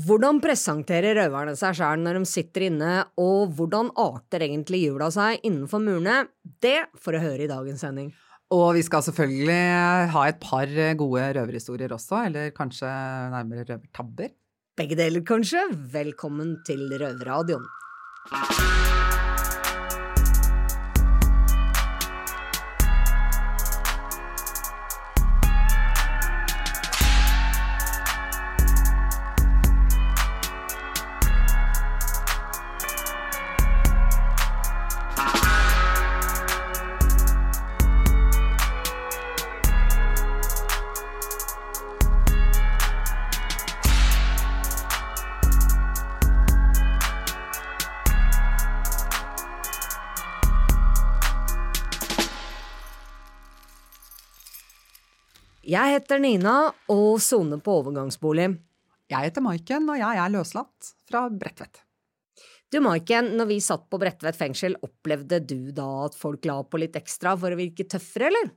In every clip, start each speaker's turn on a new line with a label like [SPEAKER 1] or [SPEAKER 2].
[SPEAKER 1] Hvordan presenterer røverne seg sjæl når de sitter inne, og hvordan arter egentlig jula seg innenfor murene? Det får du høre i dagens sending.
[SPEAKER 2] Og vi skal selvfølgelig eh, ha et par gode røverhistorier også, eller kanskje nærmere røvertabber.
[SPEAKER 1] Begge deler, kanskje. Velkommen til Røverradioen. Jeg heter Nina og soner på overgangsbolig.
[SPEAKER 2] Jeg heter Maiken, og jeg er løslatt fra Bredtvet.
[SPEAKER 1] Du Maiken, når vi satt på Bredtvet fengsel, opplevde du da at folk la på litt ekstra for å virke tøffere, eller?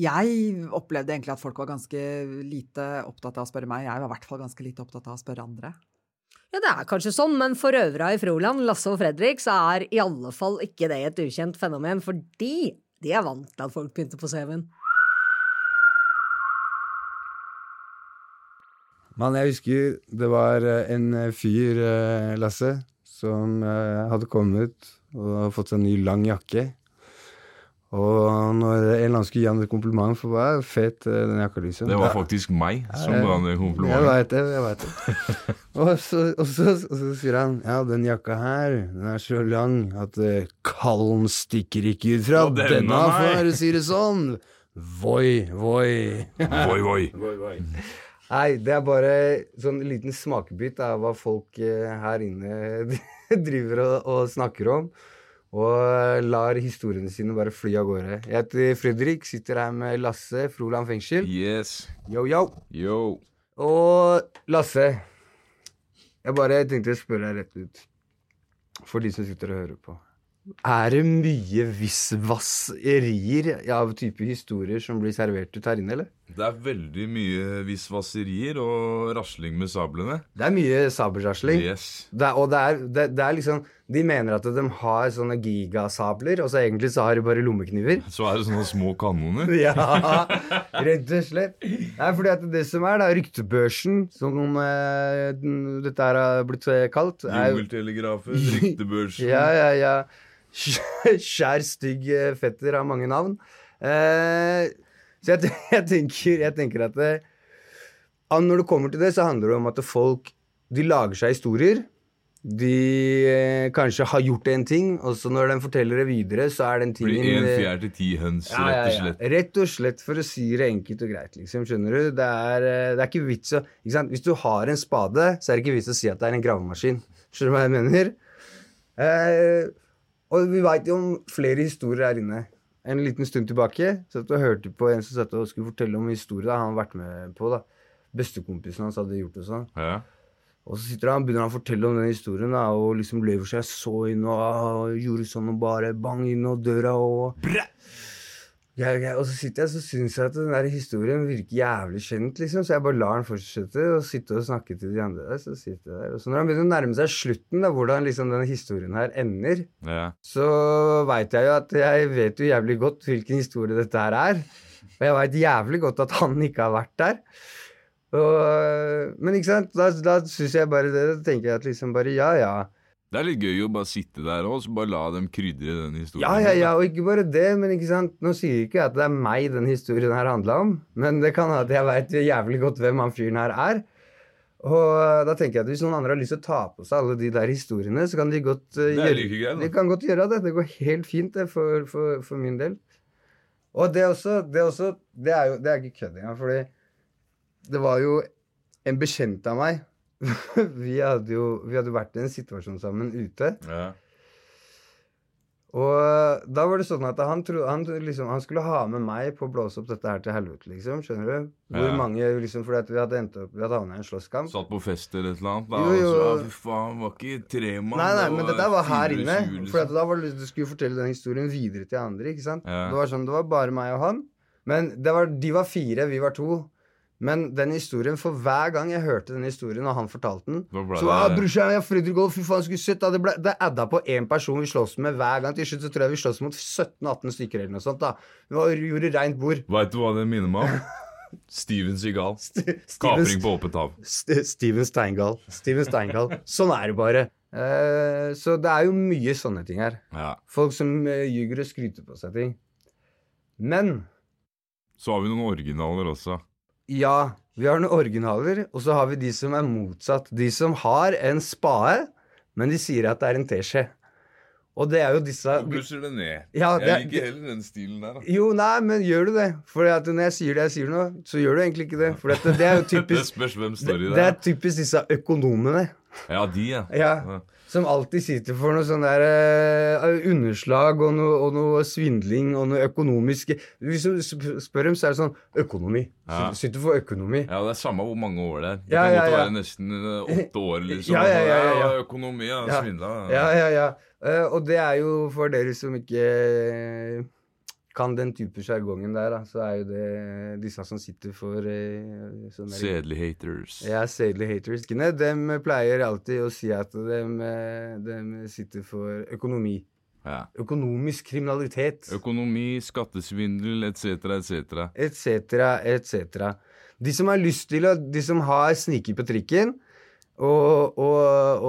[SPEAKER 2] Jeg opplevde egentlig at folk var ganske lite opptatt av å spørre meg. Jeg var i hvert fall ganske lite opptatt av å spørre andre.
[SPEAKER 1] Ja, det er kanskje sånn, men for røvera i Froland, Lasse og Fredrik, så er i alle fall ikke det et ukjent fenomen, fordi de er vant til at folk pynter på CV-en.
[SPEAKER 3] Mann, jeg husker det var eh, en eh, fyr, eh, Lasse, som eh, hadde kommet og hadde fått seg en ny lang jakke. Og når en eller annen skulle gi han et kompliment for hva er fet eh, den jakka di
[SPEAKER 4] Det var faktisk meg som
[SPEAKER 3] Ja,
[SPEAKER 4] ga han det
[SPEAKER 3] Jeg
[SPEAKER 4] komplimentet.
[SPEAKER 3] veit det, jeg veit det. og, så, og, så, og så sier han ja, den jakka her, den er så lang at eh, kallen stikker ikke ut fra
[SPEAKER 4] Og denne,
[SPEAKER 3] denne,
[SPEAKER 4] nei.
[SPEAKER 3] for å si det sånn. Voi, voi.
[SPEAKER 4] Voi, voi.
[SPEAKER 3] Nei, det er bare sånn liten smakebit av hva folk eh, her inne driver og, og snakker om. Og lar historiene sine bare fly av gårde. Jeg heter Fredrik, sitter her med Lasse, Froland fengsel.
[SPEAKER 4] Yes.
[SPEAKER 3] Yo, yo.
[SPEAKER 4] Yo.
[SPEAKER 3] Og Lasse, jeg bare tenkte å spørre deg rett ut. For de som sitter og hører på. Er det mye visvasserier av type historier som blir servert ut her inne, eller?
[SPEAKER 4] Det er veldig mye visvasserier og rasling med sablene.
[SPEAKER 3] Det er mye sabelrasling.
[SPEAKER 4] Yes.
[SPEAKER 3] Det, er- og det er, det, det er liksom De mener at de har sånne gigasabler, og så egentlig så har de bare lommekniver.
[SPEAKER 4] Så er det sånne små kanoner.
[SPEAKER 3] Ja, rett og slett. Nei, fordi at det som er, da, ryktebørsen, som eh, den- dette her har blitt eh, kalt er,
[SPEAKER 4] Jungeltelegrafen, ryktebørsen.
[SPEAKER 3] Ja, ja, ja. Skjær stygg eh, fetter har mange navn. Eh, så jeg, ten- jeg, tenker, jeg tenker at det, at Når det kommer til det, så handler det om at folk de lager seg historier. De eh, kanskje har gjort en ting, og så når de forteller det videre, så er den
[SPEAKER 4] Blir
[SPEAKER 3] tingen
[SPEAKER 4] en
[SPEAKER 3] eh,
[SPEAKER 4] fjær til ti høns,
[SPEAKER 3] ja,
[SPEAKER 4] rett og
[SPEAKER 3] ja, ja.
[SPEAKER 4] slett.
[SPEAKER 3] Rett og slett for å si det enkelt og greit, liksom. Skjønner du? Det er, eh, det er ikke vits å ikke sant? Hvis du har en spade, så er det ikke vits å si at det er en gravemaskin. Skjønner du hva jeg mener? Eh, og vi veit jo om flere historier her inne. En liten stund tilbake satt og hørte på en som satt og skulle fortelle om en historie da, han har vært med på. da. Bestekompisen hans hadde gjort det sånn.
[SPEAKER 4] Ja.
[SPEAKER 3] Og så sitter han, begynner han å fortelle om den historien da, og liksom lever seg så inn og, ah, gjorde sånn og bare bang inn og døra og jeg, jeg, Og så sitter jeg så syns jeg at den der historien virker jævlig kjent, liksom, så jeg bare lar den fortsette og sitte og snakke til de andre der. Så sitter jeg der. Og så når han begynner å nærme seg slutten, da, hvordan liksom denne historien her ender,
[SPEAKER 4] ja.
[SPEAKER 3] så veit jeg jo at jeg vet jo jævlig godt hvilken historie dette her er. Og jeg veit jævlig godt at han ikke har vært der. Og, men ikke sant, da, da syns jeg bare det. Da tenker jeg at liksom bare ja, ja.
[SPEAKER 4] Det er litt gøy å bare sitte der og så bare la dem krydre den historien.
[SPEAKER 3] Ja, ja, ja, og ikke bare det, men ikke sant, nå sier jeg ikke at det er meg den historien her handla om, men det kan hende at jeg veit jævlig godt hvem han fyren her er. Og da tenker jeg at hvis noen andre har lyst til å ta på seg alle de der historiene, så kan de godt,
[SPEAKER 4] Det
[SPEAKER 3] eh,
[SPEAKER 4] er
[SPEAKER 3] gjøre,
[SPEAKER 4] like greit, da.
[SPEAKER 3] de kan godt gjøre det. Det går helt fint det, for, for, for min del. Og det også, det også Det er jo det er ikke kødd engang, fordi det var jo en bekjent av meg vi, hadde jo, vi hadde vært i en situasjon sammen ute.
[SPEAKER 4] ja.
[SPEAKER 3] Og da var det sånn at han, tro, han, liksom, han skulle ha med meg på å blåse opp dette her til helvete, liksom. Skjønner du? Hvor
[SPEAKER 4] Ja.
[SPEAKER 3] mange, liksom, fordi at vi hadde endt opp Vi hadde havna i en slåsskamp.
[SPEAKER 4] Satt på fest eller et eller annet. Da,
[SPEAKER 3] Jo,
[SPEAKER 4] Og
[SPEAKER 3] jo.
[SPEAKER 4] så, ja, fy faen, var ikke tre mann.
[SPEAKER 3] Nei, nei, men dette var her inne.
[SPEAKER 4] 420,
[SPEAKER 3] For at
[SPEAKER 4] liksom.
[SPEAKER 3] da var det, du skulle fortelle den historien videre til andre, ikke sant?
[SPEAKER 4] Ja.
[SPEAKER 3] Det var sånn, det var bare meg og han. Men det var, de var fire, vi var to. Men den historien, for hver gang jeg hørte den historien, og han fortalte den
[SPEAKER 4] Da ble
[SPEAKER 3] Så ah,
[SPEAKER 4] det-
[SPEAKER 3] brorsan, jeg har Fredrik Golf, fy faen, skulle sett da, Det, ble, det adda på én person vi slåss med hver gang. Til slutt så tror jeg vi slåss mot 17-18 stykker eller noe sånt. da Det var, Gjorde reint bord.
[SPEAKER 4] Veit liksom. du hva det minner meg om? Steven Seagal.
[SPEAKER 3] Steven-
[SPEAKER 4] Kapring på åpent hav.
[SPEAKER 3] St Steven Steingal. Steven Steingal. Sånn er det bare. Eh, så det er jo mye sånne ting her.
[SPEAKER 4] Ja.
[SPEAKER 3] Folk som uh, ljuger og skryter på seg ting. Men
[SPEAKER 4] Så har vi noen originaler også.
[SPEAKER 3] ja, vi har noen originaler, og så har vi de som er motsatt. De som har en spade, men de sier at det er en teskje. Og det er jo disse
[SPEAKER 4] Du Blusser det ned.
[SPEAKER 3] Ja,
[SPEAKER 4] Jeg
[SPEAKER 3] det-
[SPEAKER 4] liker heller den stilen der. da.
[SPEAKER 3] Jo, nei, men gjør du det? For når jeg sier det jeg sier nå, så gjør du egentlig ikke det. For dette, det er jo
[SPEAKER 4] Det
[SPEAKER 3] typisk
[SPEAKER 4] spørs hvem
[SPEAKER 3] det,
[SPEAKER 4] står i
[SPEAKER 3] det
[SPEAKER 4] det.
[SPEAKER 3] er typisk disse økonomene.
[SPEAKER 4] Ja, de, ja.
[SPEAKER 3] Ja, Som alltid sitter for noe sånn der eh, underslag og noe, og noe svindling og noe økonomisk Hvis du sp- spør dem, så er det sånn Økonomi.
[SPEAKER 4] Ja.
[SPEAKER 3] Sitter for økonomi.
[SPEAKER 4] Ja, Det er samme hvor mange år det er. Det
[SPEAKER 3] Ja,
[SPEAKER 4] kan
[SPEAKER 3] ja,
[SPEAKER 4] godt
[SPEAKER 3] ja.
[SPEAKER 4] være nesten eh, åtte år. liksom.
[SPEAKER 3] Ja, ja, ja, ja, ja.
[SPEAKER 4] Økonomi, ja.
[SPEAKER 3] Ja.
[SPEAKER 4] Svindla.
[SPEAKER 3] Ja, ja, ja. Eh, og det er jo for dere som ikke eh, kan den type sjargongen der, da, så er jo det disse som sitter for uh, sånn der-
[SPEAKER 4] Sedelig haters.
[SPEAKER 3] Ja, Sadely Haters. De pleier alltid å si at de, sitter for økonomi.
[SPEAKER 4] Ja.
[SPEAKER 3] Økonomisk kriminalitet.
[SPEAKER 4] Økonomi, skattesvindel etc., etc.
[SPEAKER 3] etc., etc. De som har lyst til å De som har sniket på trikken og, og,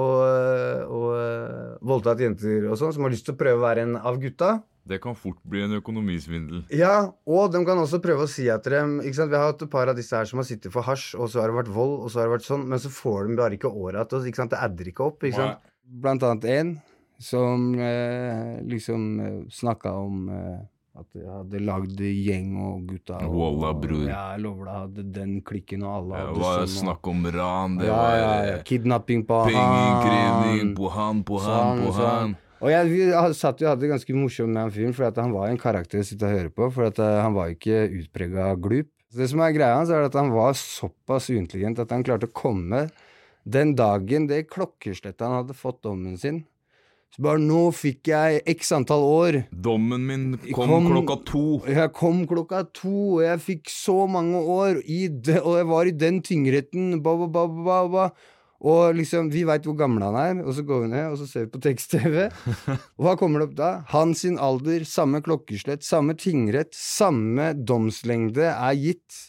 [SPEAKER 3] og, og voldtatt jenter og sånn, som har lyst til å prøve å være en av gutta.
[SPEAKER 4] Det kan fort bli en økonomisvindel.
[SPEAKER 3] Ja, og de kan også prøve å si at de ikke sant, Vi har hatt et par av disse her som har sittet for hasj, og så har det vært vold, og så har det vært sånn, men så får de bare ikke åra til oss. ikke sant, Det adder ikke opp. ikke sant? blant annet en som eh, liksom eh, snakka om eh, at de hadde lagd gjeng og gutta og,
[SPEAKER 4] Walla, bror.
[SPEAKER 3] Ja, jeg lover deg, hadde den klikken og alle
[SPEAKER 4] Det
[SPEAKER 3] hadde
[SPEAKER 4] var
[SPEAKER 3] sånn, og-
[SPEAKER 4] snakk om ran, det
[SPEAKER 3] ja,
[SPEAKER 4] var
[SPEAKER 3] ja, ja,
[SPEAKER 4] eh,
[SPEAKER 3] kidnapping på Sånn,
[SPEAKER 4] pengeinnkreving på han, på han, på han.
[SPEAKER 3] Og jeg, vi ha- satt jo og hadde det ganske morsomt med han fyren, for han var en karakter å sitte og høre på, for at, eh, han var jo ikke utprega glup. Så det som er greia hans, er at han var såpass uintelligent at han klarte å komme den dagen det klokkeslettet han hadde fått dommen sin. Så bare nå fikk jeg x antall år.
[SPEAKER 4] Dommen min kom,
[SPEAKER 3] Kom-
[SPEAKER 4] klokka to.
[SPEAKER 3] Jeg kom klokka to, og jeg fikk så mange år, i det, og jeg var i den tyngretten, ba, ba, ba, ba, ba, ba. Og liksom, vi veit hvor gammel han er, og så går vi ned, og så ser vi på tekst-TV. Og hva kommer det opp da? Hans sin alder, samme klokkeslett, samme tingrett, samme domslengde er gitt.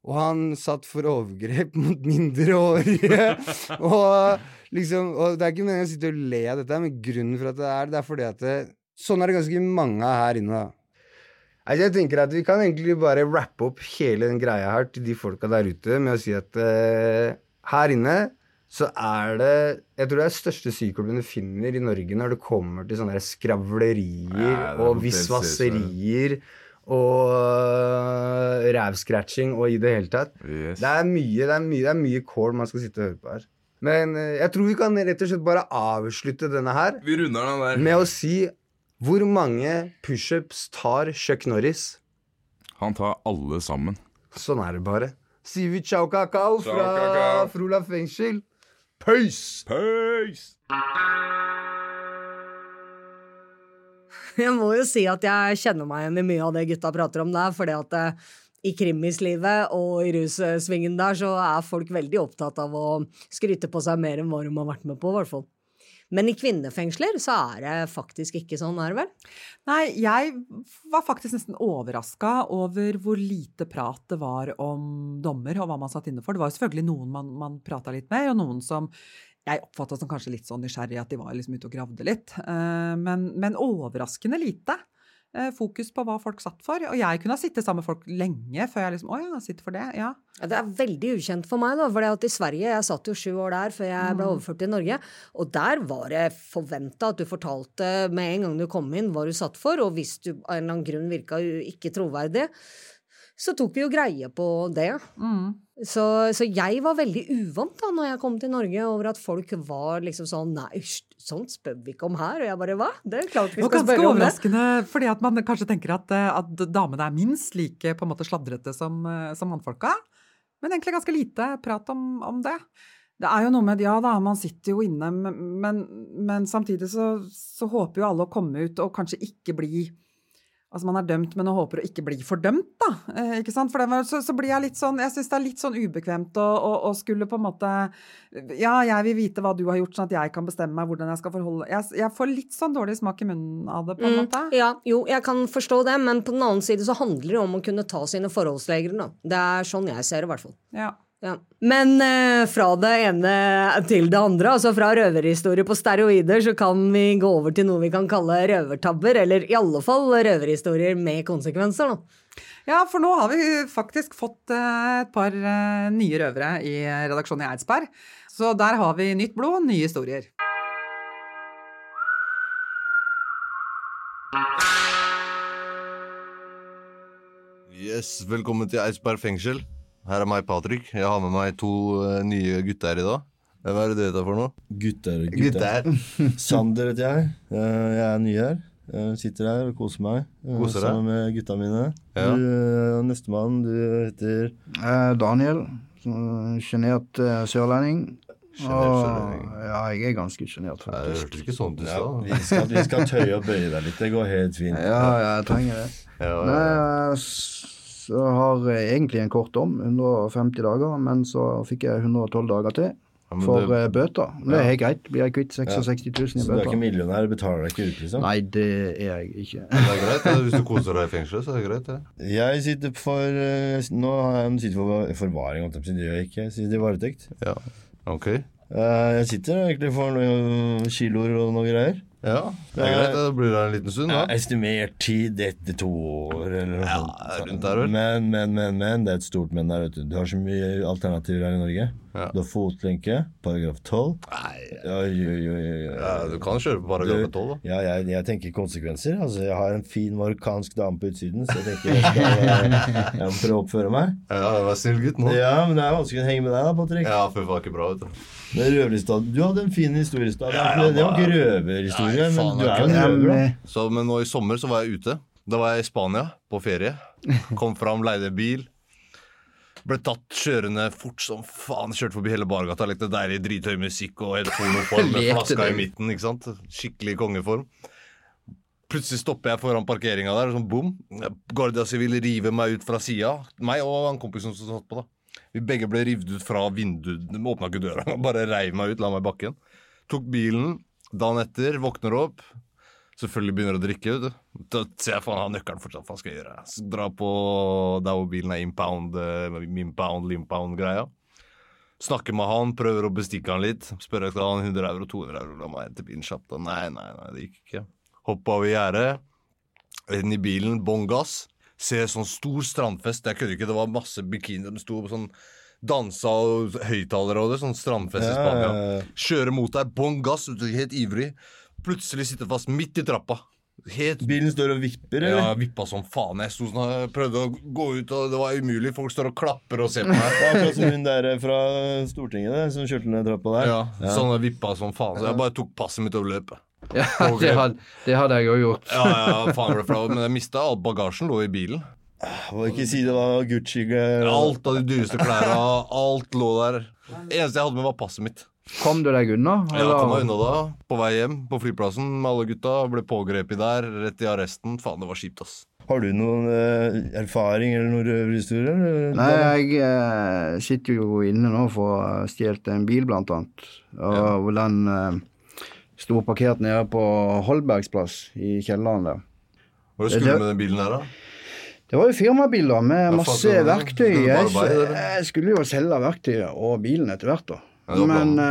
[SPEAKER 3] Og han satt for overgrep mot mindreårige. og liksom, og det er ikke meningen å sitte og le av dette, men grunnen for at det er det, det er fordi at det, sånn er det ganske mange av her inne. da. Altså, jeg tenker at Vi kan egentlig bare rappe opp hele den greia her til de folka der ute med å si at eh, her inne så er det Jeg tror det er største syklubben du finner i Norge når det kommer til sånne her skravlerier
[SPEAKER 4] Ja, det er
[SPEAKER 3] og
[SPEAKER 4] helt
[SPEAKER 3] visvasserier og uh, rævscratching og i det hele tatt.
[SPEAKER 4] Yes.
[SPEAKER 3] Det er mye, det er mye, det er mye kål man skal sitte og høre på her. Men eh, jeg tror vi kan rett og slett bare avslutte denne her
[SPEAKER 4] Vi runder den der.
[SPEAKER 3] med å si hvor mange pushups tar Chuck Norris?
[SPEAKER 4] Han tar alle sammen.
[SPEAKER 3] Sånn er det bare. Sier vi ciao kakao
[SPEAKER 4] Ciao, kakao.
[SPEAKER 3] fra Frola fengsel. Pøys!
[SPEAKER 4] Peace!
[SPEAKER 1] Jeg må jo si at jeg kjenner meg igjen i mye av det gutta prater om der, fordi at eh, i krimislivet og i russvingen der, så er folk veldig opptatt av å skryte på seg mer enn hva de har vært med på, i hvert fall. Men i kvinnefengsler så er det faktisk ikke sånn, er det vel?
[SPEAKER 2] Nei, jeg var faktisk nesten overraska over hvor lite prat det var om dommer og hva man satt inne for. Det var jo selvfølgelig noen man, man prata litt med, og noen som jeg oppfatta som kanskje litt sånn nysgjerrig at de var liksom ute og gravde litt. Eh, Men, men overraskende lite eh, fokus på hva folk satt for. Og jeg kunne ha sittet sammen med folk lenge før jeg liksom Å ja, sitter for det? Ja.
[SPEAKER 1] Ja, Det er veldig ukjent for meg, da, for at i Sverige Jeg satt jo sju år der før jeg
[SPEAKER 2] Mm.
[SPEAKER 1] ble overført til Norge. Og der var det forventa at du fortalte med en gang du kom inn, hva du satt for, og hvis du av en eller annen grunn virka u- ikke troverdig, så tok vi jo greie på det.
[SPEAKER 2] Mm.
[SPEAKER 1] Så, så jeg var veldig uvant da når jeg kom til Norge, over at folk var liksom sånn Nei, hysj, sånt spør vi ikke om her. Og jeg bare hva? Det er klart vi
[SPEAKER 2] Og
[SPEAKER 1] skal
[SPEAKER 2] ganske
[SPEAKER 1] spørre om det.
[SPEAKER 2] overraskende, fordi at man kanskje tenker at, eh, at damene er minst like på en måte sladrete som, eh, som mannfolka. Men egentlig ganske lite prat om, om det. Det er jo noe med Ja da, man sitter jo inne, men, men samtidig så, så håper jo alle å komme ut og kanskje ikke bli Altså man er dømt, men håper å ikke bli fordømt, da. Eh, ikke sant? For det var, så, så blir jeg litt sånn Jeg syns det er litt sånn ubekvemt å, å, å skulle på en måte Ja, jeg vil vite hva du har gjort, sånn at jeg kan bestemme meg hvordan jeg skal forholde Jeg, jeg får litt sånn dårlig smak i munnen av det, på en måte.
[SPEAKER 1] Mm, Ja, jo, jeg kan forstå det, men på den annen side så handler det om å kunne ta sine forholdsregler, da. Det er sånn jeg ser det, i hvert fall.
[SPEAKER 2] Ja.
[SPEAKER 1] Ja. Men eh, fra det ene til det andre, altså fra røverhistorie på steroider, så kan vi gå over til noe vi kan kalle røvertabber, eller i alle fall røverhistorier med konsekvenser, da.
[SPEAKER 2] Ja, for nå har vi faktisk fått eh, et par eh, nye røvere i redaksjonen i Eidsberg. Så der har vi nytt blod, nye historier.
[SPEAKER 5] Yes, velkommen til Eidsberg fengsel. Her er meg, Patrick. Jeg har med meg to eh, nye gutter i dag. Eh, Hva er det dere heter for noe?
[SPEAKER 6] Gutter, gutter.
[SPEAKER 5] Gutter.
[SPEAKER 6] Sander heter jeg. Eh, Jeg er ny her. Eh, Sitter her og koser meg eh,
[SPEAKER 5] Koser deg?
[SPEAKER 6] sammen med gutta mine.
[SPEAKER 5] Ja.
[SPEAKER 6] Du, eh, Nestemann, du heter
[SPEAKER 7] Eh, Daniel, sjenert eh, sørlending.
[SPEAKER 5] Sjenert
[SPEAKER 7] Og-
[SPEAKER 5] sørlending.
[SPEAKER 7] Ja, jeg er ganske sjenert.
[SPEAKER 5] Nei, Det hørtes ikke sånn ut i stad.
[SPEAKER 6] vi skal, vi skal tøye og bøye deg litt. Det går helt fint.
[SPEAKER 7] Ja, jeg trenger det.
[SPEAKER 5] Ja, ja.
[SPEAKER 7] Nei, eh, så har jeg egentlig en kort dom, 150 dager, men så fikk jeg 112 dager til
[SPEAKER 5] Ja, men
[SPEAKER 7] for
[SPEAKER 5] det-
[SPEAKER 7] eh, bøter. Men det er helt greit, blir jeg kvitt 66 000 i
[SPEAKER 6] Så du er ikke
[SPEAKER 7] bøter.
[SPEAKER 6] millionær, betaler deg ikke ut, liksom?
[SPEAKER 7] Nei, det er jeg ikke.
[SPEAKER 5] Det er greit. det. Hvis du koser deg i fengselet, så er det greit, det.
[SPEAKER 6] Jeg sitter for eh, Nå har jeg en sitter for forvaring, holdt jeg på å si. Det gjør jeg ikke. Jeg sitter i varetekt.
[SPEAKER 5] Ja. Ok.
[SPEAKER 6] Eh, Jeg sitter egentlig for noen kiloer og noe greier. Eh,
[SPEAKER 5] Ja, det er greit. Det blir der en liten stund,
[SPEAKER 6] Ja,
[SPEAKER 5] da.
[SPEAKER 6] estimert tid etter to år eller noe
[SPEAKER 5] Ja, rundt
[SPEAKER 6] sånt.
[SPEAKER 5] sånn, der, vel?
[SPEAKER 6] Men, men, men, men. Det er et stort men der, vet du. Du har så mye alternativer her i Norge.
[SPEAKER 5] Ja.
[SPEAKER 6] Du har fotlenke, paragraf 12.
[SPEAKER 5] Nei,
[SPEAKER 6] Ja, jo, jo, jo, jo.
[SPEAKER 5] ja, du kan kjøre på
[SPEAKER 6] Du-
[SPEAKER 5] paragraf 12, da.
[SPEAKER 6] Ja, jeg, jeg tenker konsekvenser. Altså, jeg har en fin marokkansk dame på utsiden, så jeg tenker jeg, skal, eh, jeg må prøve å oppføre meg.
[SPEAKER 5] Ja, vær snill gutt nå.
[SPEAKER 6] Ja, men det er vanskelig å henge med deg, da, Patrick.
[SPEAKER 5] Ja, for det var ikke bra, vet du.
[SPEAKER 6] Det er røverlista. Du hadde en fin historie i stad.
[SPEAKER 5] Ja, ja,
[SPEAKER 6] det var ikke
[SPEAKER 5] Nei,
[SPEAKER 6] røverhistorie,
[SPEAKER 5] faen,
[SPEAKER 6] men du
[SPEAKER 5] det
[SPEAKER 6] er
[SPEAKER 5] er
[SPEAKER 6] jo en
[SPEAKER 5] ikke
[SPEAKER 6] røver, da.
[SPEAKER 5] Så, men nå i sommer så var jeg ute. Da var jeg i Spania på ferie. Kom fram, leide bil. Ble tatt kjørende fort som faen. Kjørte forbi hele bargata. Lekte deilig drithøy musikk og helt pornoform med flaska i midten. ikke sant? Skikkelig kongeform. Plutselig stopper jeg foran parkeringa der, og sånn bom. Guardia Civil river meg ut fra sida. Meg og han kompisen som satt på, da. Vi begge ble revet ut fra vinduet. De Åpna ikke døra, bare reiv meg ut, la meg i bakken. Tok bilen. Dagen etter, våkner opp, Selvfølgelig begynner å drikke. Vet du. Da ser jeg faen har nøkkelen fortsatt. Hva skal jeg gjøre? Så Dra på der hvor bilen er impound, eh, impound, limpound-greia. Snakker med han, prøver å bestikke han litt. Spør jeg skal ha han 100 euro, 200 euro, la meg hente bilen kjapt. Og Nei, nei, nei, det gikk ikke. Hoppa over gjerdet, inn i bilen, bånn gass. Ser sånn stor strandfest. Jeg kødder ikke, det var masse bikinier. De sto og sånn dansa og høyttalere og det. Sånn strandfest i Spania.
[SPEAKER 6] Ja, ja, ja.
[SPEAKER 5] Kjører mot deg, bånn gass, du er helt ivrig. Plutselig sitter fast midt i trappa. Helt
[SPEAKER 6] Bilen står og vipper, eller?
[SPEAKER 5] ja, vippa som faen. Jeg sto sånn, og prøvde å gå ut, og det var umulig. Folk står og klapper og ser på meg.
[SPEAKER 6] Det er akkurat som hun der eh, fra Stortinget det, som kjørte ned trappa der.
[SPEAKER 5] Ja, Sånn og vippa som faen. Så jeg bare tok passet mitt og løp.
[SPEAKER 8] Ja,
[SPEAKER 5] Ok.
[SPEAKER 8] det, hadde, det hadde jeg òg gjort.
[SPEAKER 5] Ja, ja, faen ble flau, men jeg mista all bagasjen. Lå i bilen.
[SPEAKER 6] Må ikke si det var Gucci eh,
[SPEAKER 5] Alt av de dyreste klærne, alt lå der. Eneste jeg hadde med, var passet mitt.
[SPEAKER 7] Kom du deg unna?
[SPEAKER 5] Jeg kom meg unna da, på vei hjem, på flyplassen med alle gutta. Ble pågrepet der, rett i arresten. Faen, det var kjipt, ass.
[SPEAKER 6] Har du noen eh, erfaring eller noen røverhistorier? eller?
[SPEAKER 7] Nei, jeg eh, sitter jo inne nå for å ha stjålet en bil, blant annet. Og hvor den eh, sto parkert nede på Holbergs plass i kjelleren der.
[SPEAKER 5] Hva er det du skulle med den bilen her, da?
[SPEAKER 7] Det var jo firmabil, da, med
[SPEAKER 5] Ja,
[SPEAKER 7] masse
[SPEAKER 5] faen, det var-
[SPEAKER 7] verktøy.
[SPEAKER 5] det var bare
[SPEAKER 7] Jeg,
[SPEAKER 5] bare det, det.
[SPEAKER 7] jeg skulle jo selge verktøyet og bilen etter hvert, da.
[SPEAKER 5] Ja, det var
[SPEAKER 7] Men
[SPEAKER 5] planen.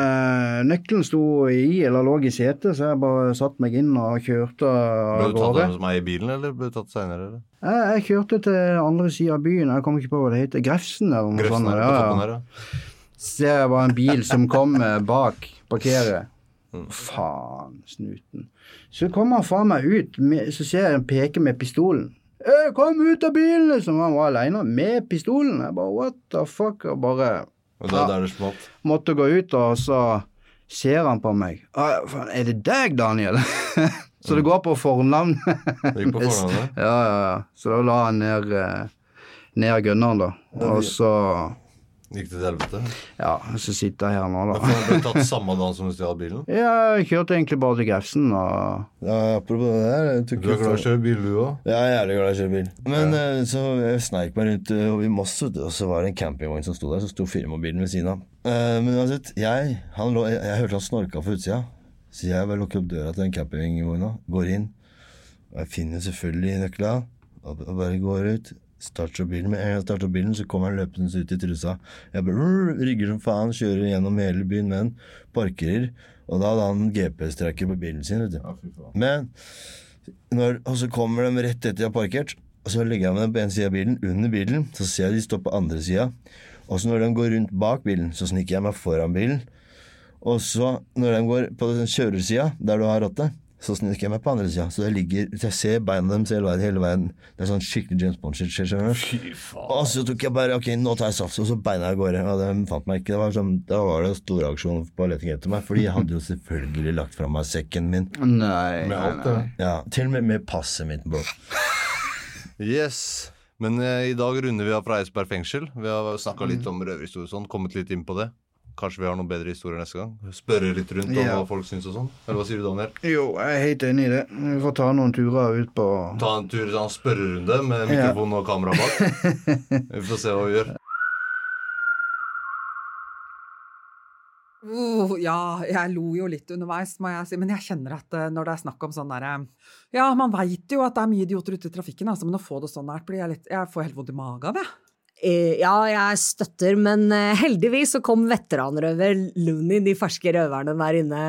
[SPEAKER 7] eh, nøkkelen sto i, eller lå i setet, så jeg bare satte meg inn og kjørte
[SPEAKER 5] Ble
[SPEAKER 7] av
[SPEAKER 5] du tatt
[SPEAKER 7] gårde.
[SPEAKER 5] av meg i bilen, eller ble du tatt seinere?
[SPEAKER 7] Jeg, jeg kjørte til andre sida av byen, jeg kom ikke på hva det heter. Grefsen, eller noe
[SPEAKER 5] Grefsen
[SPEAKER 7] sånt.
[SPEAKER 5] her,
[SPEAKER 7] Ja,
[SPEAKER 5] på
[SPEAKER 7] ja.
[SPEAKER 5] toppen her, ja.
[SPEAKER 7] ser jeg bare en bil som kommer bak parkeret.
[SPEAKER 5] Mm.
[SPEAKER 7] Faen, snuten. Så kommer han faen meg ut, med, så ser jeg han peke med pistolen. «Øy, kom ut av bilen! liksom. Han var aleine med pistolen. Jeg bare what the fuck? Og bare
[SPEAKER 5] Og det er der det smalt.
[SPEAKER 7] måtte gå ut, og så ser han på meg. «Å, faen, er det deg, Daniel? så det går på fornavn.
[SPEAKER 5] Det gikk på
[SPEAKER 7] Yes.
[SPEAKER 5] fornavnet.
[SPEAKER 7] Ja, ja, ja. Så da la han ned, eh, ned gunneren, da. Og så
[SPEAKER 5] Gikk det til helvete?
[SPEAKER 7] Ja, så sitter jeg her nå,
[SPEAKER 5] Men
[SPEAKER 7] da.
[SPEAKER 5] for han ble tatt samme dag som du stjal bilen?
[SPEAKER 7] Jeg kjørte egentlig bare til Grefsen og
[SPEAKER 6] Ja, apropos det der jeg tok
[SPEAKER 5] Du er
[SPEAKER 6] ut-
[SPEAKER 5] glad i å kjøre bil, du òg?
[SPEAKER 6] Ja, jeg er jævlig glad i å kjøre bil. Men eh, så jeg sneik meg rundt eh, over i Moss, vet du, og så var det en campingvogn som sto der, så sto firmabilen ved siden av. Eh, men uansett, jeg, han lå, jeg, jeg hørte han snorka fra utsida, så jeg bare lukker opp døra til den campingvogna, går inn. Og jeg finner selvfølgelig nøkla, og og bare går ut. Starter bilen, Med en gang jeg starter bilen, så kommer han løpende ut i trusa. Jeg bare rrr, rygger som faen, kjører gjennom hele byen med den, parkerer. Og da hadde han GPS-tracker på bilen sin, vet du. Men når, og så kommer de rett etter jeg har parkert. Og så legger jeg meg på en side av bilen, under bilen. Så ser jeg de står på andre sida. Og så når de går rundt bak bilen, så sniker jeg meg foran bilen. Og så når de går på den kjørersida, der du har rattet, så sniker jeg meg på andre sida. Så jeg ligger, så jeg ser beina deres hele veien. Hele veien. Det er sånn skikkelig James Bond-shit. skjer, skjønner du? Og så tok jeg bare Ok, nå tar jeg sats, og så beina jeg av gårde. Og de fant meg ikke. Det var sånn, da var det storaksjon på leting etter meg. For jeg hadde jo selvfølgelig lagt fra meg sekken min.
[SPEAKER 7] Nei.
[SPEAKER 5] Med alt, det.
[SPEAKER 6] Ja, Til og med med passet mitt, bro.
[SPEAKER 5] Yes. Men eh, i dag runder vi av fra Eidsberg fengsel. Vi har snakka
[SPEAKER 6] Mm.
[SPEAKER 5] litt om røverhistorie og sånn. Kommet litt inn på det. Kanskje vi har noen bedre historier neste gang? Spørre litt rundt om
[SPEAKER 7] Ja.
[SPEAKER 5] hva folk syns og sånn. Eller hva sier du, Daniel?
[SPEAKER 7] Jo, jeg er helt enig i det. Vi får ta noen turer ut på
[SPEAKER 5] Ta en tur sånn spørrerunde med mikrofon og kamera bak. Vi får se hva vi gjør.
[SPEAKER 2] Uh, ja, jeg lo jo litt underveis, må jeg si. Men jeg kjenner at eh, når det er snakk om sånn derre Ja, man veit jo at det er mye idioter ute i trafikken, altså, men å få det sånn nært blir jeg litt Jeg får helt vondt i magen av, jeg.
[SPEAKER 1] Eh, Ja, jeg støtter, men eh, heldigvis så kom veteranrøver Looney, de ferske røverne der inne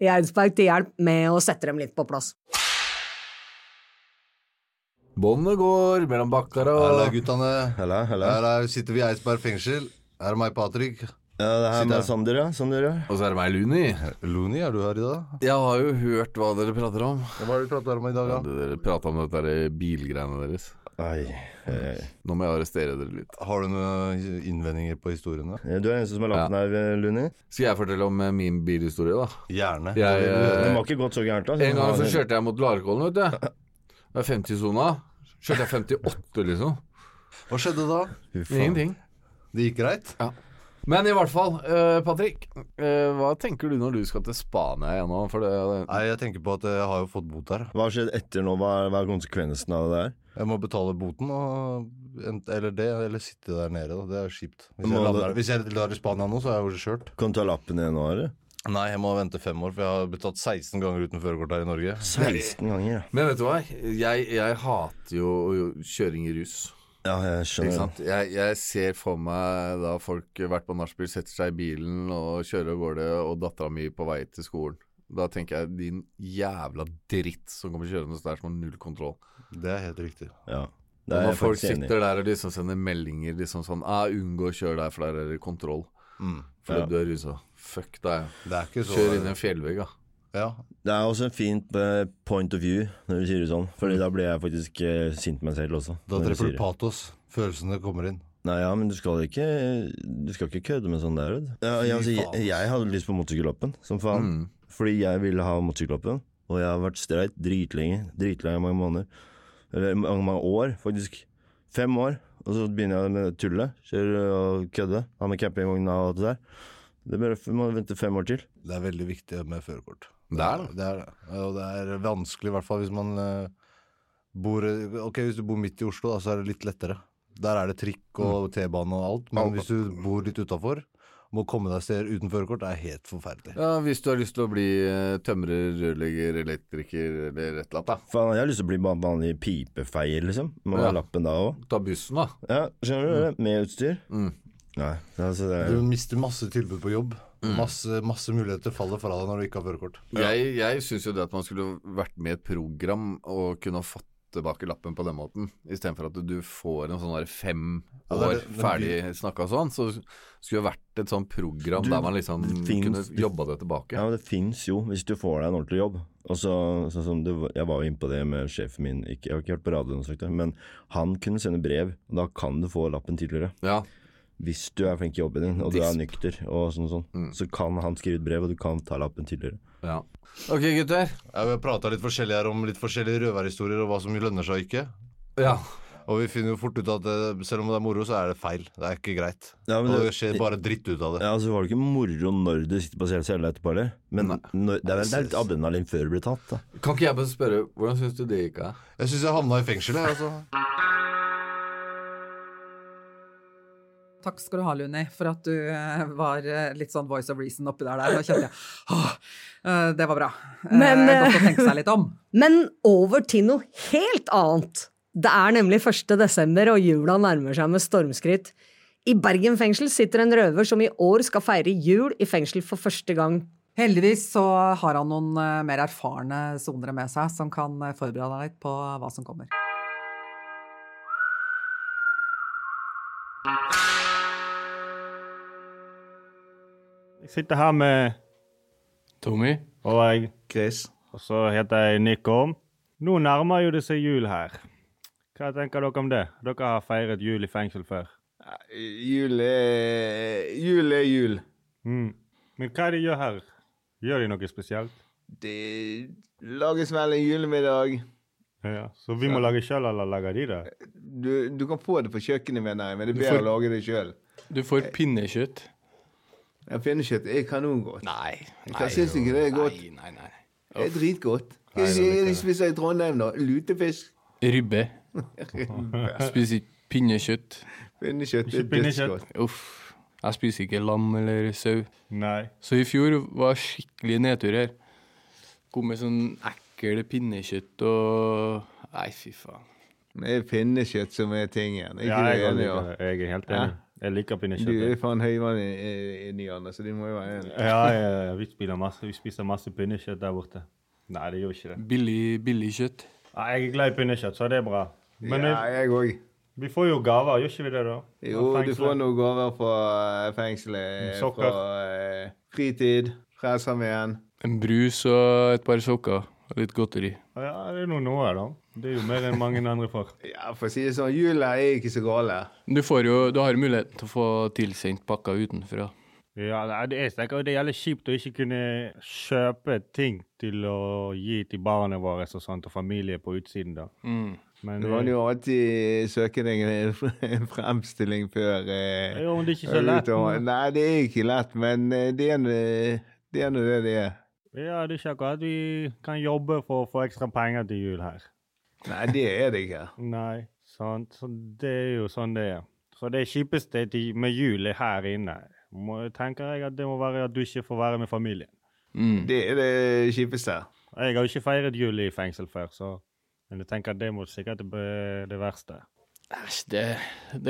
[SPEAKER 1] i Eidsberg, til hjelp med å sette dem litt på plass.
[SPEAKER 9] Båndet går mellom bakkar
[SPEAKER 5] Halla,
[SPEAKER 9] og
[SPEAKER 5] guttene.
[SPEAKER 6] Hella, hella.
[SPEAKER 5] Her er, sitter vi i Eidsberg fengsel. Her er meg, Patrick.
[SPEAKER 6] Ja, det her
[SPEAKER 5] Sitt her.
[SPEAKER 6] med Sander, ja. Sander, ja.
[SPEAKER 9] Og så er det meg, Luni.
[SPEAKER 5] Loni, er du her i dag?
[SPEAKER 9] Jeg har jo hørt hva dere prater om.
[SPEAKER 5] Hva har du prata om i dag, da?
[SPEAKER 9] Dere prata om dette der bilgreiene deres.
[SPEAKER 6] Ai, ai, ai.
[SPEAKER 9] Nå må jeg arrestere dere litt.
[SPEAKER 5] Har du noen innvendinger på historiene?
[SPEAKER 6] Du er den eneste som har lagt den her, Luni.
[SPEAKER 9] Skal jeg fortelle om eh, min bilhistorie, da?
[SPEAKER 5] Gjerne.
[SPEAKER 9] Jeg, eh,
[SPEAKER 6] Den var ikke godt så gærent, da.
[SPEAKER 9] en gang så kjørte jeg mot Larkollen, vet du. Det er 50-sona. Kjørte jeg 58, liksom.
[SPEAKER 5] Hva skjedde da?
[SPEAKER 9] Ingenting.
[SPEAKER 5] Det gikk greit?
[SPEAKER 9] Men i hvert fall, eh, Patrick. eh, hva tenker du når du skal til Spania igjen nå? For det,
[SPEAKER 5] Nei, jeg tenker på at jeg har jo fått bot her.
[SPEAKER 6] Hva har skjedd etter nå? Hva er, hva er konsekvensen av det der?
[SPEAKER 5] Jeg må betale boten, og ent- eller det, eller sitte der nede. Da. Det er jo kjipt. Hvis
[SPEAKER 6] Må
[SPEAKER 5] jeg,
[SPEAKER 6] du-
[SPEAKER 5] lander, hvis jeg drar i Spania nå, så er jeg jo kjørt.
[SPEAKER 6] Kan du ta lappen igjen nå, eller?
[SPEAKER 5] Nei, jeg må vente fem år, for jeg har betalt 16 ganger uten førerkort her i Norge.
[SPEAKER 6] 16 ganger, ja.
[SPEAKER 9] men vet du hva? Jeg, jeg hater jo kjøring i rus.
[SPEAKER 6] Ja, jeg
[SPEAKER 9] Ikke
[SPEAKER 6] skjønner. det.
[SPEAKER 9] sant? Jeg, jeg ser for meg da folk vært på nachspiel, setter seg i bilen og kjører av gårde, og dattera mi på vei til skolen. Da tenker jeg din jævla dritt som kommer kjørende der som har null kontroll.
[SPEAKER 5] Det er helt riktig.
[SPEAKER 6] Ja.
[SPEAKER 9] Og
[SPEAKER 6] Det er
[SPEAKER 9] når
[SPEAKER 6] jeg
[SPEAKER 9] folk
[SPEAKER 6] faktisk enig i.
[SPEAKER 9] sitter der og liksom sender meldinger liksom sånn ah, 'Unngå å kjøre der, for der er det kontroll.'
[SPEAKER 5] Mm.
[SPEAKER 9] Fordi
[SPEAKER 6] Ja.
[SPEAKER 9] du er rusa. Fuck deg.
[SPEAKER 5] Det er ikke så
[SPEAKER 9] Kjør inn i en fjellvegg, da.
[SPEAKER 5] Ja.
[SPEAKER 6] Det er også en fint eh, point of view når du sier det sånn, Fordi da blir jeg faktisk eh, sint meg selv også.
[SPEAKER 5] Mm. Da
[SPEAKER 6] når du
[SPEAKER 5] treffer
[SPEAKER 6] sier
[SPEAKER 5] du
[SPEAKER 6] det.
[SPEAKER 5] patos. Følelsene kommer inn.
[SPEAKER 6] Nei, ja, men du skal ikke Du skal ikke kødde med sånn der, vet du. Ja, jeg,
[SPEAKER 5] Fy
[SPEAKER 6] altså, jeg,
[SPEAKER 5] faen.
[SPEAKER 6] jeg hadde lyst på motorsykkellappen, som faen.
[SPEAKER 9] Mm.
[SPEAKER 6] Fordi jeg ville ha motorsykkellappen, og jeg har vært streit dritlenge. Dritlenge i mange måneder. Eller mange, mange år, faktisk. Fem år. Og så begynner jeg med det tullet. Kjører og kødde. Har med campingvogna og alt det der. Det bare, vi må vente fem år til.
[SPEAKER 5] Det er veldig viktig med førerkort.
[SPEAKER 9] Det er det.
[SPEAKER 5] Det er det. Og det er vanskelig, i hvert fall hvis man eh, bor Ok, hvis du bor midt i Oslo, da, så er det litt lettere. Der er det trikk og
[SPEAKER 6] Mm.
[SPEAKER 5] T-bane og alt. Men
[SPEAKER 9] Alt.
[SPEAKER 5] hvis du bor litt utafor, må komme deg steder uten førerkort, det er helt forferdelig.
[SPEAKER 9] Ja, hvis du har lyst til å bli eh, tømrer, rørlegger, elektriker eller et eller annet,
[SPEAKER 6] Faen, jeg har lyst til å bli ba- vanlig pipefeier, liksom. Må ha
[SPEAKER 9] Ja.
[SPEAKER 6] lappen da òg.
[SPEAKER 9] da. Ta bussen, da.
[SPEAKER 6] Ja, skjønner du? det? Med utstyr.
[SPEAKER 9] Mm.
[SPEAKER 6] Nei, altså det er
[SPEAKER 5] Du mister masse tilbud på jobb.
[SPEAKER 6] Mm.
[SPEAKER 5] Masse, masse muligheter faller fra deg når du ikke har førerkort.
[SPEAKER 9] Jeg, jeg syns jo det at man skulle vært med i et program og kunne ha fått tilbake lappen på den måten, istedenfor at du får en sånn der fem
[SPEAKER 5] Ja, det er
[SPEAKER 9] år
[SPEAKER 5] det- men
[SPEAKER 9] ferdig snakka sånn, så skulle det vært et sånn program
[SPEAKER 6] Du-
[SPEAKER 9] der man liksom
[SPEAKER 6] det finnes-
[SPEAKER 9] kunne
[SPEAKER 6] det-
[SPEAKER 9] jobba det tilbake.
[SPEAKER 6] Ja, men det fins jo, hvis du får deg en ordentlig jobb. Og så, sånn som det, var- Jeg var jo inne på det med sjefen min, ikke, jeg har ikke hørt på radioen, og sagt det, men han kunne sende brev, og da kan du få lappen tidligere.
[SPEAKER 9] Ja,
[SPEAKER 6] Hvis du er flink i jobben din, og du er
[SPEAKER 9] Disp.
[SPEAKER 6] nykter, og sånn, sånn
[SPEAKER 9] Mm.
[SPEAKER 6] så kan han skrive ut brev, og du kan ta lappen tidligere.
[SPEAKER 9] ja. Ok,
[SPEAKER 5] Jeg
[SPEAKER 9] gutter.
[SPEAKER 5] har prata litt forskjellig her om litt forskjellige røverhistorier og hva som lønner seg og ikke.
[SPEAKER 9] Ja.
[SPEAKER 5] Og vi finner jo fort ut at eh, selv om det er moro, så er det feil. Det er ikke greit.
[SPEAKER 6] Ja, men
[SPEAKER 5] og
[SPEAKER 6] det-
[SPEAKER 5] det skjer bare dritt ut av det.
[SPEAKER 6] Ja, altså var det ikke moro når du sitter på CLC etterpå, eller? Men når, det er vel det er litt adrenalin før du blir tatt, da.
[SPEAKER 9] Kan ikke jeg bare spørre, hvordan syns du det gikk av?
[SPEAKER 5] Jeg syns jeg havna i fengsel, jeg, altså.
[SPEAKER 2] Takk skal du ha, Luni, for at du eh, var eh, litt sånn voice of reason oppi der. der. Nå kjente jeg åh, eh, det var bra. Eh,
[SPEAKER 1] Men, eh,
[SPEAKER 2] Godt å tenke seg litt om.
[SPEAKER 1] Men over til noe helt annet. Det er nemlig 1. desember, og jula nærmer seg med stormskritt. I Bergen fengsel sitter en røver som i år skal feire jul i fengsel for første gang.
[SPEAKER 2] Heldigvis så har han noen eh, mer erfarne sonere med seg som kan eh, forberede deg litt på hva som kommer.
[SPEAKER 10] Jeg sitter her med
[SPEAKER 8] Tommy?
[SPEAKER 10] og jeg,
[SPEAKER 5] Chris.
[SPEAKER 10] og så heter jeg Nikom. Nå nærmer jo det seg jul her. Hva tenker dere om det? Dere har feiret jul i fengsel før.
[SPEAKER 11] Jul er Jul er jul.
[SPEAKER 10] Mm. Men hva er det de gjør her? Gjør de noe spesielt?
[SPEAKER 11] Det lages vel en julemiddag.
[SPEAKER 10] Ja, så vi må lage sjøl, eller lager de det?
[SPEAKER 11] Du, du kan få det på kjøkkenet, mener jeg, men det er
[SPEAKER 8] Du
[SPEAKER 11] bedre
[SPEAKER 8] får-
[SPEAKER 11] å lage det sjøl.
[SPEAKER 8] Du får pinnekjøtt.
[SPEAKER 11] Pinnekjøtt er kanongodt.
[SPEAKER 8] Nei.
[SPEAKER 11] Hva syns ikke det er godt?
[SPEAKER 8] Nei, nei, nei.
[SPEAKER 11] Det er dritgodt.
[SPEAKER 8] Nei,
[SPEAKER 11] Hva
[SPEAKER 8] det er
[SPEAKER 11] er
[SPEAKER 8] ikke
[SPEAKER 11] det de
[SPEAKER 8] det.
[SPEAKER 11] spiser i Trondheim, da? Lutefisk?
[SPEAKER 8] Ribbe. Spiser ikke pinnekjøtt.
[SPEAKER 11] Pinnekjøtt
[SPEAKER 10] Ikke
[SPEAKER 11] er
[SPEAKER 10] pinnekjøtt.
[SPEAKER 11] dødsgodt.
[SPEAKER 8] Uff. Jeg spiser ikke lam eller sau.
[SPEAKER 10] Nei.
[SPEAKER 8] Så i fjor var skikkelig nedtur her. Kom med sånn ekkel pinnekjøtt og Nei, fy faen.
[SPEAKER 11] Det er pinnekjøtt som er tingen. Er
[SPEAKER 10] Ja,
[SPEAKER 11] Ikke
[SPEAKER 10] jeg,
[SPEAKER 11] det
[SPEAKER 10] også liker
[SPEAKER 11] enig, ja.
[SPEAKER 10] det. jeg er helt
[SPEAKER 11] Hæ?
[SPEAKER 10] enig. Jeg liker
[SPEAKER 11] Du er
[SPEAKER 10] pinnekjøtt.
[SPEAKER 11] faen høyvann inni, Anne, så du må jo være enig.
[SPEAKER 10] Ja, ja, ja, vi, spiller masse, vi spiser masse pinnekjøtt der borte. Nei, det gjør vi ikke det.
[SPEAKER 8] Billig, billig kjøtt.
[SPEAKER 10] Ja, jeg er glad i pinnekjøtt, så det er bra. Men
[SPEAKER 11] ja,
[SPEAKER 10] vi,
[SPEAKER 11] jeg òg.
[SPEAKER 10] vi får jo gaver, gjør ikke vi det, da?
[SPEAKER 11] Jo, du får noen gaver fra eh, fengselet.
[SPEAKER 10] Sokker.
[SPEAKER 11] Fra eh, fritid. Frelsesarmeen.
[SPEAKER 8] En brus og et par sokker. Og litt godteri.
[SPEAKER 10] Ja, det er noe noe, da. Det er jo mer enn mange andre får.
[SPEAKER 11] Ja, for å si det sånn, jula er ikke så gale.
[SPEAKER 8] Du, får jo, du har muligheten til å få tilsendt pakker utenfra.
[SPEAKER 10] Ja, nei, det er sterkt. Og det er jævlig kjipt å ikke kunne kjøpe ting til å gi til barna våre og sånt, og familie på utsiden, da.
[SPEAKER 8] Mm.
[SPEAKER 10] Men eh,
[SPEAKER 11] Du kan jo alltid søke deg en- en fremstilling før eh,
[SPEAKER 10] Jo, men det er ikke så lett.
[SPEAKER 11] utover. Nei, det er ikke lett, men eh, det er nå det er nå det det er.
[SPEAKER 10] Ja, det er ikke akkurat vi kan jobbe for å få ekstra penger til jul her.
[SPEAKER 11] Nei, det er det ikke.
[SPEAKER 10] Nei, sant. Så det er jo sånn det er. Så det kjipeste til- med jul er her inne. Må, tenker jeg at det må være at du ikke får være med familien.
[SPEAKER 8] Mm.
[SPEAKER 11] Det er det kjipeste.
[SPEAKER 10] Jeg har jo ikke feiret jul i fengsel før, så men jeg tenker at det må sikkert være det verste.
[SPEAKER 8] Æsj, det,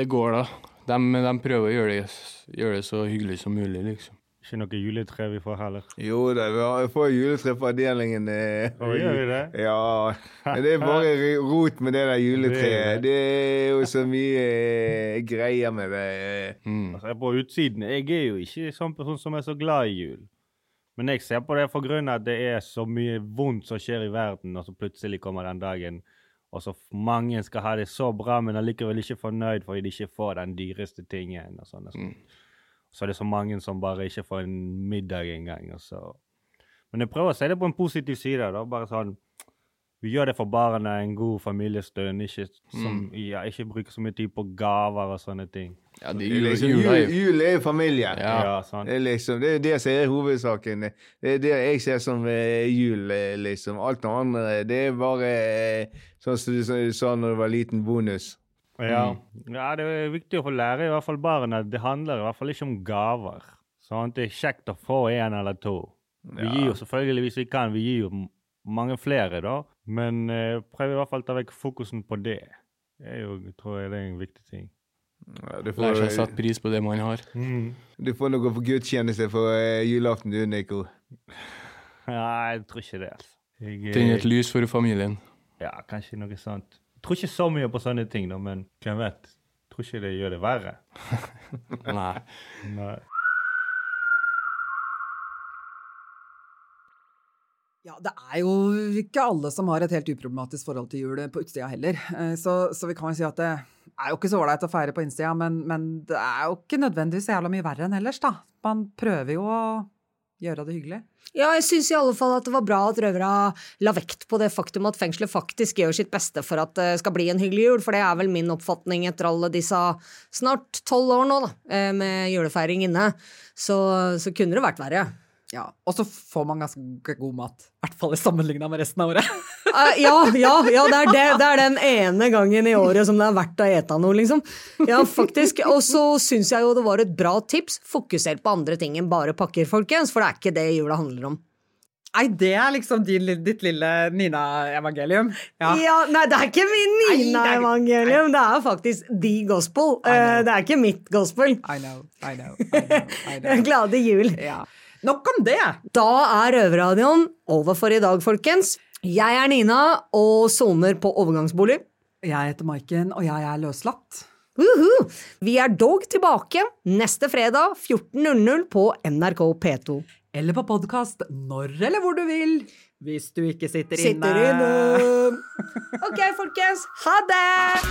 [SPEAKER 8] det går, da. De, de prøver å gjøre det, gjøre det så hyggelig som mulig, liksom.
[SPEAKER 10] Ikke noe juletre vi får heller.
[SPEAKER 11] Jo da, vi har- vi får juletre på avdelingen. eh, og-
[SPEAKER 10] Gjør vi det?
[SPEAKER 11] Ja, men det er bare rot med det der juletreet. Det er jo så mye eh, greier med det. eh.
[SPEAKER 8] Mm.
[SPEAKER 10] Altså, jeg er på utsiden. Jeg er jo ikke sånn person som er så glad i jul. Men jeg ser på det for grunn av at det er så mye vondt som skjer i verden, og så plutselig kommer den dagen, og så f- mange skal ha det så bra, men allikevel ikke fornøyd fordi de ikke får den dyreste tingen. og sånn. og sånn.
[SPEAKER 11] Mm.
[SPEAKER 10] Så er det så mange som bare ikke får en middag engang. og så- Men jeg prøver å se det på en positiv side. da, bare sånn, Vi gjør det for barna, en god familiestund, ikke, som,
[SPEAKER 11] Mm.
[SPEAKER 10] ja, ikke bruke så mye tid på gaver og sånne ting.
[SPEAKER 8] Ja, det,
[SPEAKER 11] Det er
[SPEAKER 8] jula,
[SPEAKER 11] liksom,
[SPEAKER 8] jula er
[SPEAKER 11] jul,
[SPEAKER 8] jo
[SPEAKER 11] jul er jo familie.
[SPEAKER 8] Ja.
[SPEAKER 10] sant.
[SPEAKER 11] Det er liksom, det er jo det som er hovedsaken. Det er det jeg ser som eh, jul, eh, liksom. Alt det andre, det er bare eh, sånn som du sa- sa når du var liten, bonus.
[SPEAKER 10] Ja.
[SPEAKER 8] Mm.
[SPEAKER 10] Mm. ja, det er viktig å få lære i hvert fall barna. Det handler i hvert fall ikke om gaver. Sånn, det er kjekt å få en eller to. Vi gir jo selvfølgelig hvis vi kan, vi gir jo m- mange flere da, men eh, prøv i hvert fall å ta vekk fokusen på det. Det er jo, tror jeg det er en viktig ting.
[SPEAKER 11] Ja, Du
[SPEAKER 8] Lærer seg å
[SPEAKER 11] får,
[SPEAKER 8] sette pris på det man har.
[SPEAKER 11] du får noe for gudstjeneste for eh, julaften, du, Nico.
[SPEAKER 10] Nei, jeg tror ikke det, altså. Jeg,
[SPEAKER 8] Tenne
[SPEAKER 10] eh,
[SPEAKER 8] et lys for familien.
[SPEAKER 10] ja, kanskje noe sånt. Jeg tror ikke så mye på sånne ting da, men hvem vet? Jeg tror ikke det gjør det verre.
[SPEAKER 8] Nei.
[SPEAKER 10] Nei.
[SPEAKER 2] Ja, det er jo ikke alle som har et helt uproblematisk forhold til jul på utsida heller. Eh, Så, så vi kan jo si at det er jo ikke så ålreit å feire på innsida, men, men det er jo ikke nødvendigvis så jævla mye verre enn ellers, da. Man prøver jo å Gjøre det hyggelig?
[SPEAKER 1] Ja, jeg syns i alle fall at det var bra at røvere la vekt på det faktum at fengselet faktisk gjør sitt beste for at det skal bli en hyggelig jul, for det er vel min oppfatning etter alle disse snart tolv år nå, da, eh, med julefeiring inne. Så, så kunne det vært verre.
[SPEAKER 2] Ja. Og så får man ganske god mat. I hvert fall sammenligna med resten av året.
[SPEAKER 1] Eh, ja, ja, ja det, er det, det er den ene gangen i året som det er verdt å ete noe, liksom. Ja, faktisk. Og så syns jeg jo det var et bra tips. Fokuser på andre ting enn bare pakker, folkens, for det er ikke det jula handler om.
[SPEAKER 2] Nei, det er liksom din, lille- ditt lille Nina-evangelium.
[SPEAKER 1] Ja. Nei, det er ikke min Nina-evangelium, det er faktisk de gospel. Eh, Det er ikke mitt gospel.
[SPEAKER 2] I know, I know.
[SPEAKER 1] Glade jul.
[SPEAKER 2] Nok om det!
[SPEAKER 1] Da er Røverradioen over for i dag, folkens. Jeg er Nina og soner på overgangsbolig.
[SPEAKER 2] Jeg heter Maiken, og jeg er løslatt.
[SPEAKER 1] Uhu! Vi er dog tilbake neste fredag 14.00 på NRK P2.
[SPEAKER 2] Eller på podkast når eller hvor du vil. Hvis du ikke sitter inne.
[SPEAKER 1] Sitter inne. Ok, folkens. Ha det!